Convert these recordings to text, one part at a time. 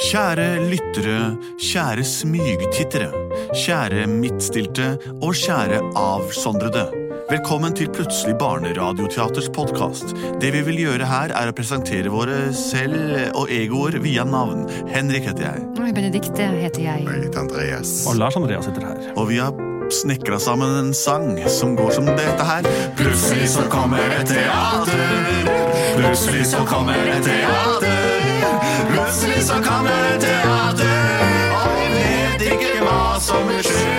Kjære lyttere, kjære smygtittere, kjære midtstilte og kjære avsondrede. Velkommen til Plutselig barneradioteaters podkast. Det vi vil gjøre her, er å presentere våre selv og egoer via navn. Henrik heter jeg. Oi, Benedikte heter jeg. Høyt Andreas. Og Lars Andreas sitter her. Og vi har snekra sammen en sang som går som dette her. Plutselig så kommer et teater. Plutselig så kommer et teater. Plutselig så kommer et teater. Og vi vet ikke hva som vil skje.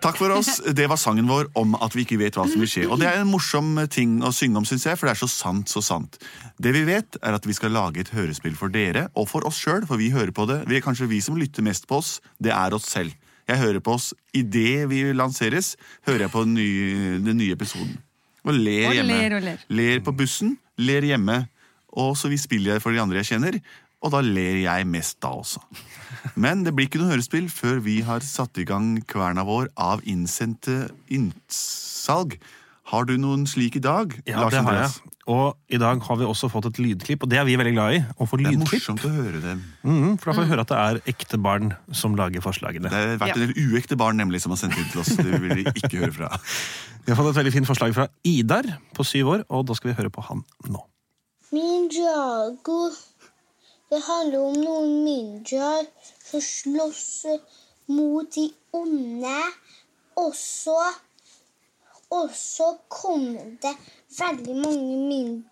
Takk for oss. Det var sangen vår om at vi ikke vet hva som vil skje. Og det er en morsom ting å synge om, syns jeg, for det er så sant, så sant. Det vi vet, er at vi skal lage et hørespill for dere, og for oss sjøl, for vi hører på det. Vi, kanskje vi som lytter mest på oss, det er oss selv. Jeg hører på oss idet vi lanseres, hører jeg på den nye, den nye episoden. Og ler Og hjemme. ler og ler. på bussen, ler hjemme. Og så vi spiller jeg for de andre jeg kjenner, og da ler jeg mest da også. Men det blir ikke noe hørespill før vi har satt i gang kverna vår av innsendte innsalg. Har du noen slik i dag? Ja, Lars det har Andreas? jeg. Og i dag har vi også fått et lydklipp, og det er vi veldig glad i. Å få Det er lydklipp. morsomt å høre dem. Mhm, for da får vi høre at det er ekte barn som lager forslagene. Det har vært en del uekte barn nemlig som har sendt inn til oss. Det vil de ikke høre fra. Vi har fått et veldig fint forslag fra Idar på syv år, og da skal vi høre på han nå. Ninjago. Det handler om noen ninjaer som slåss mot de onde. Og så Og så kom det veldig mange ninj...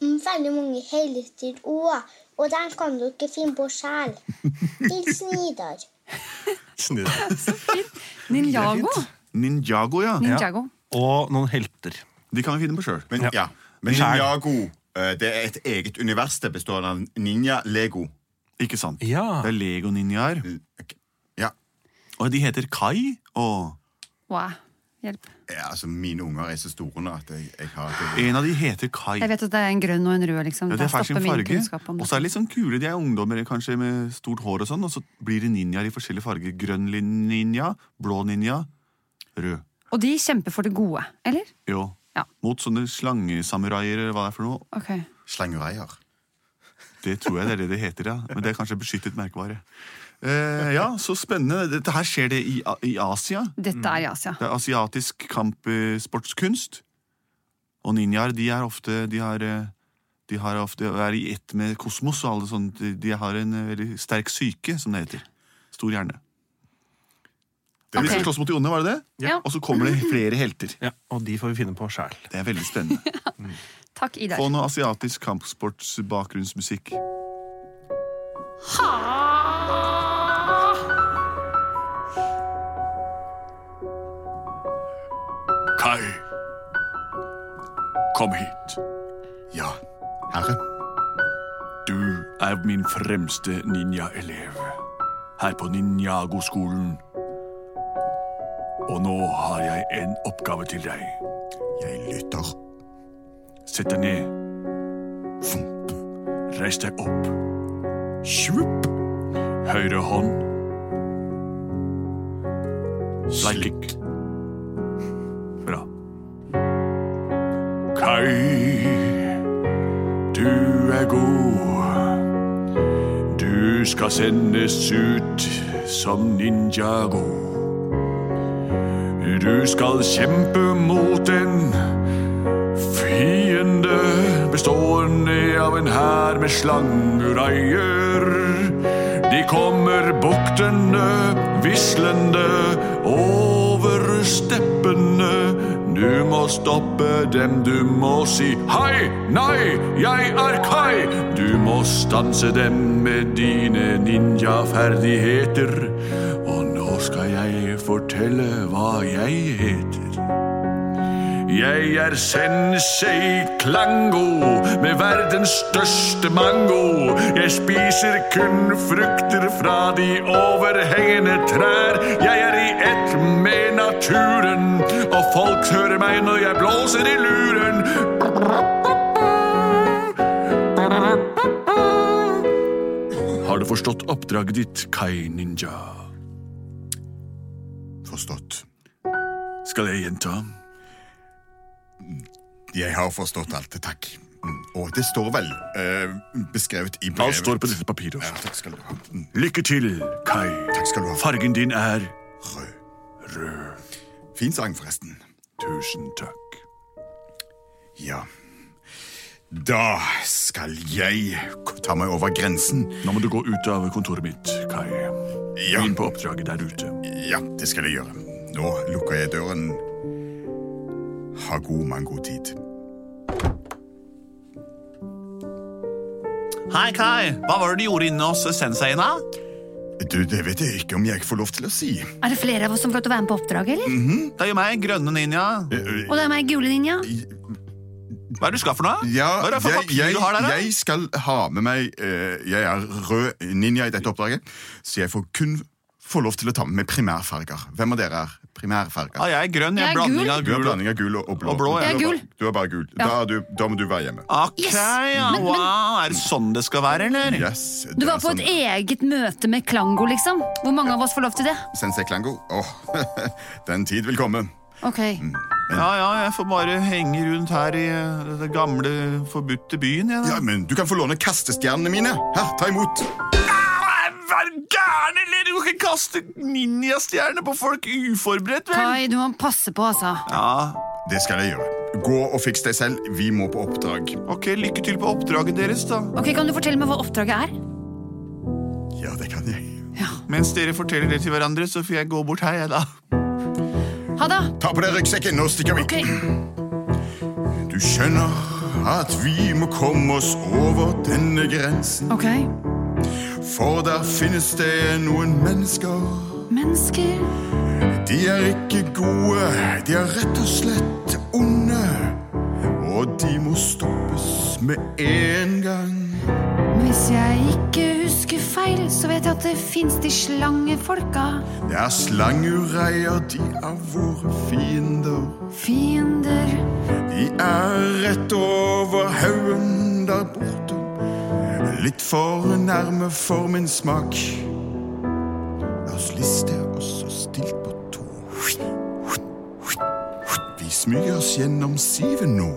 Veldig mange helter òg. Og dem kan du ikke finne på sjæl. Hilsen Idar. Ninjago. Ninjago, ja. Ninjago. Og noen helter. De kan vi finne på sjøl. Men Ja. ja, men Skjær. Ninjago eh, det er et eget univers det består av ninja, lego Ikke sant? Ja. Det er Lego-ninjaer. Ja, Og de heter Kai og Wow. Hjelp. ja altså Mine unger er så store nå at jeg, jeg har det. En av de heter Kai. Jeg vet at det er en grønn og en rød, liksom. Ja, det er Der hver sin stopper min farge. kunnskap om Og det. så er de litt sånn kule. De er ungdommer kanskje med stort hår og sånn, og så blir de ninjaer i forskjellige farger. Grønn lin- ninja, blå ninja, rød. Og de kjemper for det gode, eller? Jo. Ja. Mot sånne slangesamuraier eller hva det er for noe. Ok. Slangureier. Det tror jeg det er det det heter, ja. Men det er kanskje beskyttet merkevare. Eh, ja, så spennende. Dette her skjer det i, A- i Asia. Dette er i Asia. Det er asiatisk kampsportskunst. Og ninjaer, de er ofte De har eh, de har ofte, er i ett med kosmos og alle sånne. De- De har en eh, veldig sterk psyke, som det heter. Stor hjerne. Det liksom Ok. okay. Slåss mot de onde, var det det? Ja. Og så kommer det flere helter. Ja, og de får vi finne på sjæl. Det er veldig spennende. Takk, Idar. Få noe asiatisk kampsportsbakgrunnsmusikk. Kai, kom hit. Ja, herre. Du er min fremste ninja-elev her på Ninjago-skolen. Og nå har jeg en oppgave til deg. Jeg lytter. Sett deg ned. Fump. Reis deg opp. Svupp. Høyre hånd. Slight kick. Bra. Kai, du er god. Du skal sendes ut som ninjago. Du skal kjempe mot en fiende bestående av en hær med slangereier. De kommer buktende, vislende over steppene. Du må stoppe dem, du må si hei, nei, jeg er Kai. Du må stanse dem med dine ninjaferdigheter. Og nå skal jeg fortelle hva jeg heter. Jeg er sensei Klango med verdens største mango. Jeg spiser kun frukter fra de overhengende trær. Jeg er i ett med naturen, og folk hører meg når jeg blåser i luren. Har du forstått oppdraget ditt, Kai Ninja? Forstått. Skal jeg gjenta? Jeg har forstått alt. Takk. Mm, Og det står vel eh, beskrevet i brevet. Alt står på dette papiret Ja, også. takk skal du ha. Mm, Lykke til, Kai. Takk skal du ha. Fargen din er Rød. rød. Fin sang, forresten. Tusen takk. Ja. Da skal jeg k- ta meg over grensen. Nå må du gå ut av kontoret mitt, Kai. Ja, Inn på oppdraget der ute. ja det skal jeg gjøre. Nå lukker jeg døren. Ha god mangotid. Hei, Kai. Hva var det du gjorde inne hos senseien, da? Du, det vet jeg ikke om jeg får lov til å si. Er det flere av oss som får lov til å være med på oppdraget, eller? Det er jo meg, grønne ninja. Og det er meg, gule ninja. Hva er det du skal for noe? Ja, Hva er det for jeg, papir jeg, du har der, da? jeg skal ha med meg eh, Jeg er rød ninja i dette oppdraget, så jeg får kun få lov til å ta med meg primærfarger. Hvem av dere er primærfarger? Ah, jeg er grønn. Jeg er Jeg er blanding gul. av Du er gul og blanding av gul og, og blå. Og blå, Jeg er Du gul. bare- Du er bare gul. Da, er du, da må du være hjemme. Ok, Yes. ja, Men- men- wow. Er det sånn det skal være, eller? Yes, Du det er var altså- på sånn. et eget møte med Klango, liksom. Hvor mange av oss får lov til det? Sensei Klango. Åh, den tid vil komme. Ok. Mm. Ja, ja, jeg får bare henge rundt her i eh, den gamle, forbudte byen. Jeg, da. Ja, men Du kan få låne kastestjernene mine. Her, ta imot. Hva er du gæren, eller? Du kan ikke kaste ninjastjerner på folk uforberedt, vel? Kai, du må passe på, altså. Ja, Det skal jeg gjøre. Gå og fiks deg selv. Vi må på oppdrag. ok, lykke til på oppdraget deres, da. Ok, Kan du fortelle meg hva oppdraget er? Ja, det kan jeg. Mens dere forteller det til hverandre, så får jeg gå bort her, jeg, da. Ha det! Ta på deg ryggsekken, nå stikker vi. Ok. Du skjønner at vi må komme oss over denne grensen, Ok. for der finnes det noen mennesker. Mennesker De er ikke gode, de er rett og slett onde, og de må stoppes med en gang. Men Hvis jeg ikke husker feil, så vet jeg at det fins de slangefolka. Det er slangureier, de er våre fiender. Fiender. De er rett over haugen der borte. Litt for nærme for min smak. La oss liste oss så stilt på tå. Vi smyger oss gjennom sivet nå.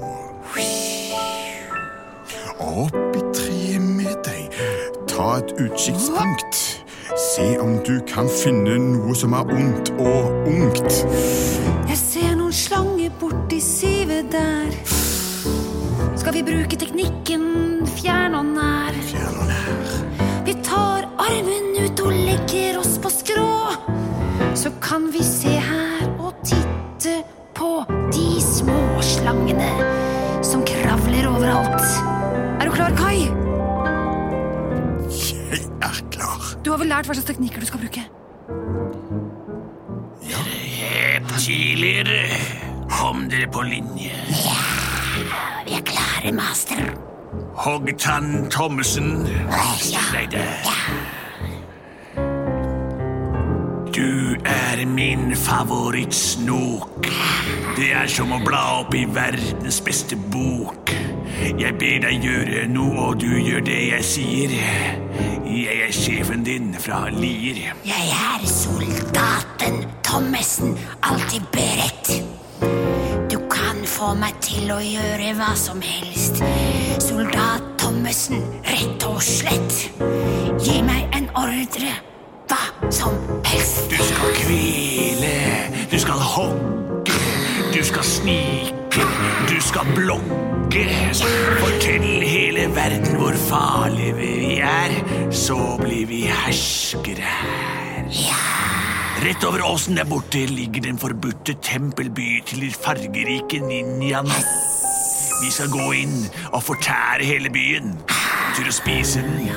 Og opp i treet med deg. Ta et utkikkspunkt. Se om du kan finne noe som er ondt og ungt. Jeg ser noen slanger borti sivet der. Skal vi bruke teknikken fjern og nær? Fjern og nær. Vi tar armen ut og legger oss på skrå. Så kan vi se her og titte på de små slangene som kravler overalt. Er du klar, Kai? Jeg er klar. Du har vel lært hva slags teknikker du skal bruke? Kom dere på linje. Vi er klare, master. Hoggtann Thommessen, still deg der. Du er min favorittsnok. Det er som å bla opp i verdens beste bok. Jeg ber deg gjøre noe, og du gjør det jeg sier. Jeg er sjefen din fra Lier. Jeg er soldaten Thommessen, alltid beredt. Du kan få meg til å gjøre hva som helst. Soldat Thommessen, rett og slett. Gi meg en ordre, hva som helst. Du skal kvele, du skal hogge, du skal snike, du skal blokke. Fortell hele verden hvor farlige vi er, så blir vi herskere her. Rett over åsen der borte ligger den forbudte tempelby til de fargerike ninjaene. Vi skal gå inn og fortære hele byen. Til å spise den.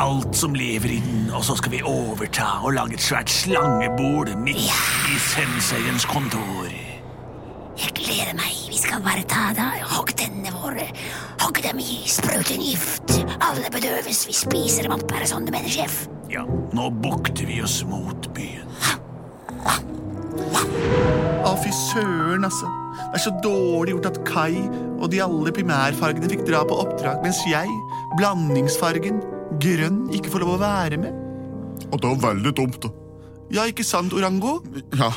Alt som lever i den. Og så skal vi overta og lage et svært slangebord midt i senseiens kontor. Jeg gleder meg. Vi skal bare ta da, hogg tennene våre. Hogg dem i, sprut inn gift. Alle bedøves, vi spiser dem opp. Er det sånn du mener, sjef? Ja, nå bukter vi oss mot byen. Å, fy søren, altså. Det er så dårlig gjort at Kai og de alle primærfargene fikk dra på oppdrag, mens jeg, blandingsfargen, grønn, ikke får lov å være med. Og det er veldig dumt, da. Ja, ikke sant, Orango? Ja,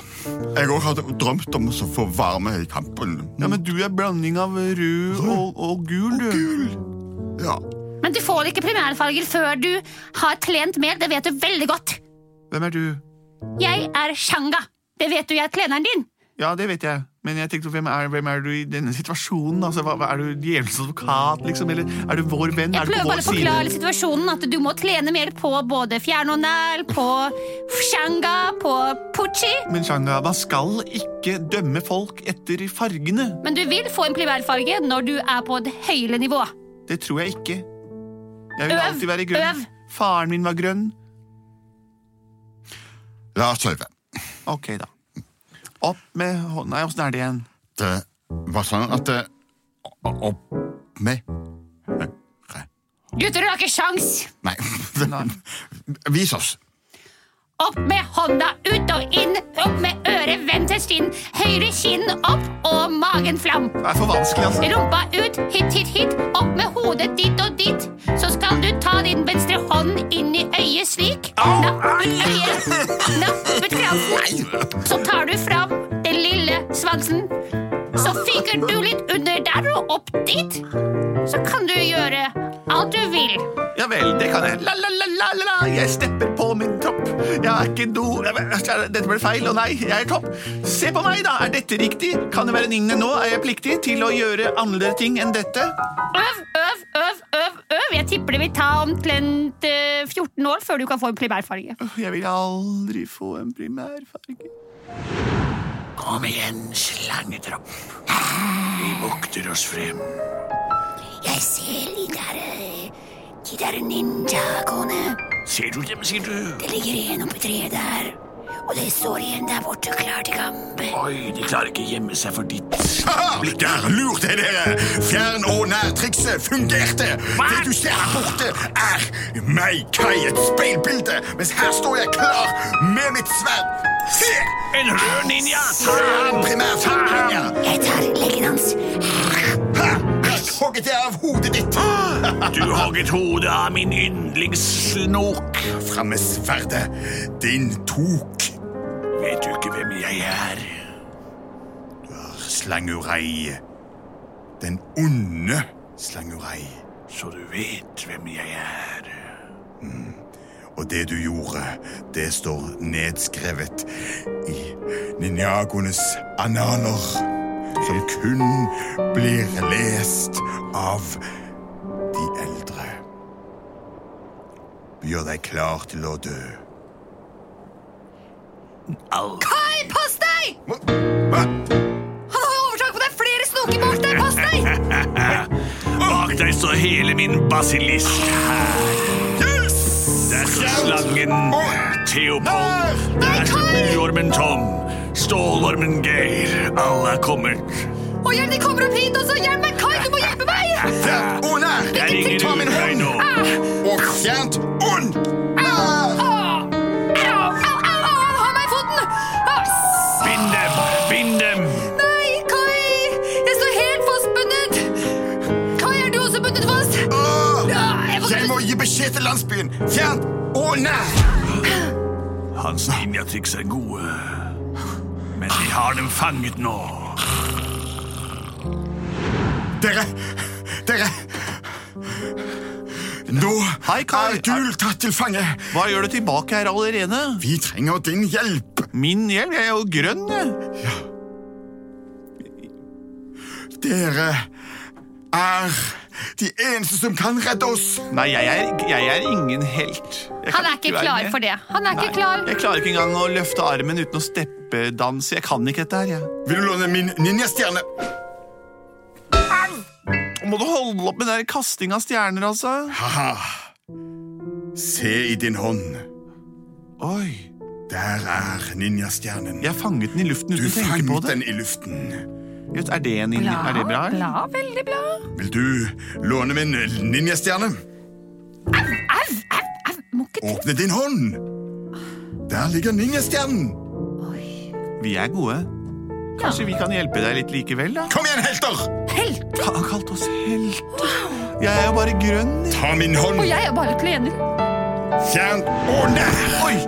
jeg òg har drømt om å få være med i kampen. Ja, men du er blanding av rød og, og gul, du. Gul! Ja. Men du får ikke primærfarger før du har trent mer, det vet du veldig godt. Hvem er du? Jeg er Shanga. Det vet du, jeg er treneren din. Ja, det vet jeg. Men jeg tenkte, hvem er, hvem er du i denne situasjonen? Altså, hva, hva- er du djevelens advokat, liksom? Eller er du vår venn? Jeg er du prøver på vår bare å side? forklare situasjonen at du må trene mer på både fjernåndæl, på Shanga, på Pucci. Men Shanga, man skal ikke dømme folk etter fargene. Men du vil få en primærfarge når du er på et høyere nivå. Det tror jeg ikke. Jeg vil Øv, alltid være grønn. øv. Faren min var grønn. La oss øve. Ok, da. Opp med hånda Nei, åssen er det igjen? Det var sånn at det, Opp med høyre Gutter, du har ikke sjans! Nei. Nei. Vis oss. Opp med hånda, ut og inn, opp med øret, vendt til skinn, høyre kinn, opp og magen fram. Det er for vanskelig, altså. Rumpa ut, hit, hit, hit, opp med hodet dit og dit. Så skal du ta din venstre hånd inn i øyet slik. Napp i øyet, napp ved kransen. Så tar du fram den lille svansen. Så fyker du litt under der og opp dit. Så kan du gjøre alt du vil. Ja vel, det kan jeg. La, la, la, la, la, la. Jeg stepper på min topp. Jeg er ikke do... Nei, men, Dette ble feil, og nei, jeg er topp. Se på meg, da. Er dette riktig? Kan det være lignende nå? Er jeg pliktig til å gjøre andre ting enn dette? Øv, øv, øv, øv, øv. Jeg tipper det vil ta omtrent eh, 14 år før du kan få en primærfarge. Åh, Jeg vil aldri få en primærfarge. Kom igjen, slangetropp. Vi bukter oss frem. Jeg ser de der eh, De der ninjagoene. Ser du dem, sier du? Det ligger en oppi treet der. Og det står igjen der borte, klar til kamp. Oi, de klarer ikke gjemme seg for ditt Haha, Der lurte jeg dere! Fjern- eh, og nærtrikset fungerte! Det du ser her borte, er meg, Kai, et speilbilde, mens her står jeg klar med mitt sverd. Se! En rød ninja! Se den primært handlinga! Jeg tar leggen hans. Hogget jeg av hodet ditt. Du hogget hodet av min yndlingssnok. Fram med sverdet. Din tok, Vet du ikke hvem jeg er? slangurai. eh, Den onde slangurai. Så du vet hvem jeg er. Og det du gjorde, det står nedskrevet i ninjagoenes analer, som kun blir lest av de eldre. Gjør deg klar til å dø. Alt Hei, pass deg! Hva? Han har overtak på deg! Flere snoker bak deg! Pass deg! Bak deg står hele min basilisk. Der står slangen Theopold. Der står murormen Tom. Stålormen Geir. Alle er kommet. Og hjelp, de kommer opp hit også! Hjelp meg, Kai! Du må hjelpe meg! Fjern ånd Det er ingen Ta min utvei hånd Ah! nå. og fjernt ånd! Ah! Au, au, au, au, au, ha meg i foten! Au, Bind dem! Bind dem! Nei, Kai! Jeg står helt fastbundet! Kai, er du også bundet fast? Jeg Ah! Jeg må gi beskjed til landsbyen. Fjernt ånd! Hans ninjatriks er gode. Men vi har dem fanget nå. Dere Dere Nå Hei, Kai. er Gul tatt til fange. Hva gjør du tilbake her allerede? Vi trenger din hjelp. Min hjelp? Jeg er jo grønn, jeg. Dere er de eneste som kan redde oss. Nei, jeg er, jeg er ingen helt. Jeg kan Han er ikke være klar med. for det. Han er ikke Nei. klar. Jeg klarer ikke engang å løfte armen uten å steppedanse. Jeg kan ikke dette her, jeg. Vil du låne min ninjastjerne? Må du holde opp med den der kasting av stjerner, altså? Haha. Se i din hånd. Oi, Der er ninjastjernen. jeg fanget den i luften Du uten å tenke på fanget det. den i luften. Just, er det en inni? Er det bra? eller? Bla, veldig bra. Vil du låne min ninjastjerne? Au, au, au. Må ikke Åpne din hånd. Der ligger ninjastjernen. Vi er gode. Kanskje vi kan hjelpe deg litt likevel, da? Kom igjen, helter! Helt. Han kalte oss helt. Jeg er jo bare grønn. Ta min hånd. Og jeg er bare klener. Fjern ordene! Oi!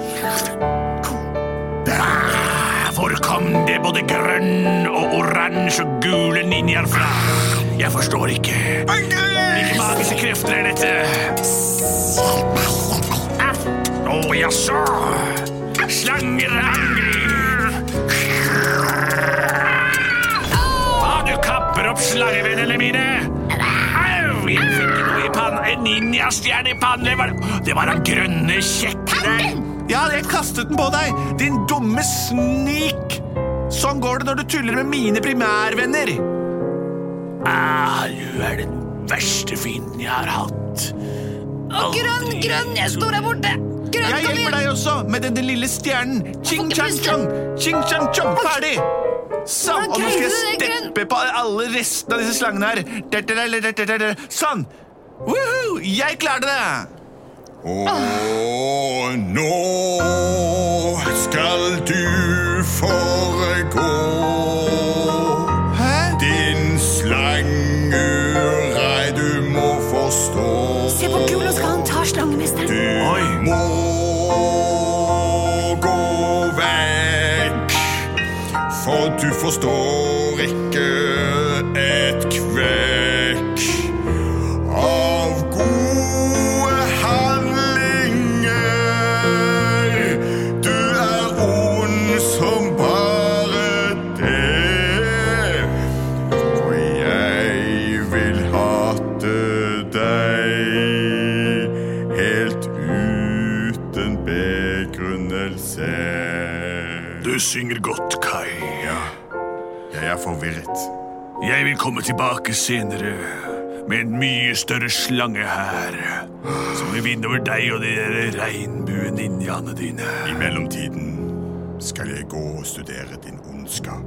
Hvor kom det både grønn og oransje og gule ninjaer fra? Jeg forstår ikke. Hvilke magiske krefter er dette? Å jaså. Slanger angriper. Har du kapper opp slangevennene mine? Au! Jeg fikk noe i pannen. En ninjastjerne i pannen. Det var, det var den grønne kjekken. Ja, jeg kastet den på deg, din dumme snik! Sånn går det når du tuller med mine primærvenner. Ah, du er den verste fienden jeg har hatt. Grønn, grønn, jeg står her borte. Jeg Grønn, kom hjelper igjen. deg også med den lille stjernen. Ching ikke chang puste. chong, ching chang chong, ferdig! Sånn, og Hvordan nå skal jeg greide du det, Grønn? steppe på alle restene av disse slangene her. Der, der, der, der, der, der. Sånn! Woohoo! Jeg klarte det! Og nå skal du foregå. Hæ? Din slangeurei, du må forstå. Se på Gulo, skal han ta Du slangemesteren? må gå vekk, for du forstår ikke et kvekk av gode handlinger. Du er ond som bare det. For jeg vil hate deg helt uten begrunnelse. Du synger godt, Kai. Ja, jeg er forvirret. Jeg vil komme tilbake senere med en mye større slange her. Som vil vinne over deg og de der regnbue-ninjaene dine. I mellomtiden skal jeg gå og studere din ondskap.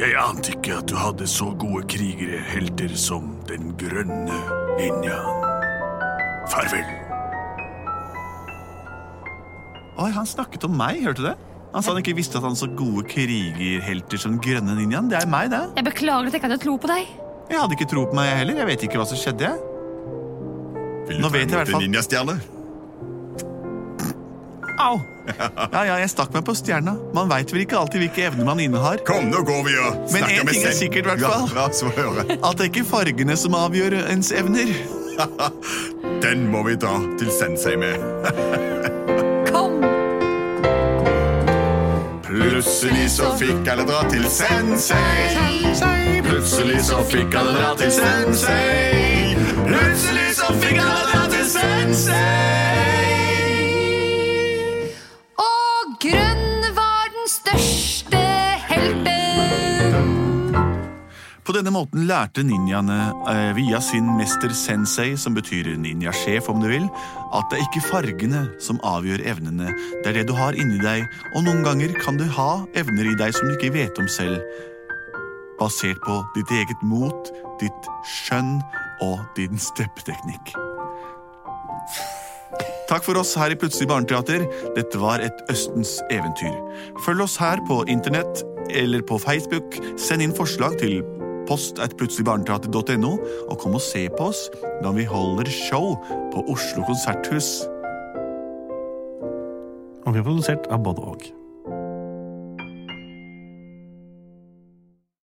Jeg ante ikke at du hadde så gode krigere, helter som den grønne ninjaen. Farvel. Oi, han snakket om meg, hørte du det? Han sa han ikke visste at han så gode krigerhelter som den grønne ninjaen. Det er meg, det. Jeg beklager at jeg ikke hadde tro på deg. Jeg hadde ikke tro på meg, jeg heller. Jeg vet ikke hva som skjedde. jeg. Vil du Nå ta vet jeg i hvert imot fall- en ninjastjerne? Au! Ja, ja, jeg stakk meg på stjerna. Man veit vel ikke alltid hvilke evner man innehar. Kom, nå går vi og Men snakker en med ting er selv. sikkert i hvert fall. Ja, la oss få høre. At det ikke er fargene som avgjør ens evner. Den må vi dra til sensei med. Kom! Plutselig så fikk alle dra til sensei. Plutselig så fikk alle dra til sensei. Plutselig så fikk alle dra til sensei. Og grønn var den største helten. På denne måten lærte ninjaene eh, via sin mester sensei, som betyr ninjasjef om du vil, at det er ikke fargene som avgjør evnene. Det er det du har inni deg, og noen ganger kan du ha evner i deg som du ikke vet om selv. Basert på ditt eget mot, ditt skjønn og din steppeteknikk. Takk for oss her i Plutselig barneteater. Dette var et Østens eventyr. Følg oss her på internett eller på Facebook. Send inn forslag til post at plutseligbarneteater.no, og kom og se på oss når vi holder show på Oslo Konserthus. Og vi er produsert av både og.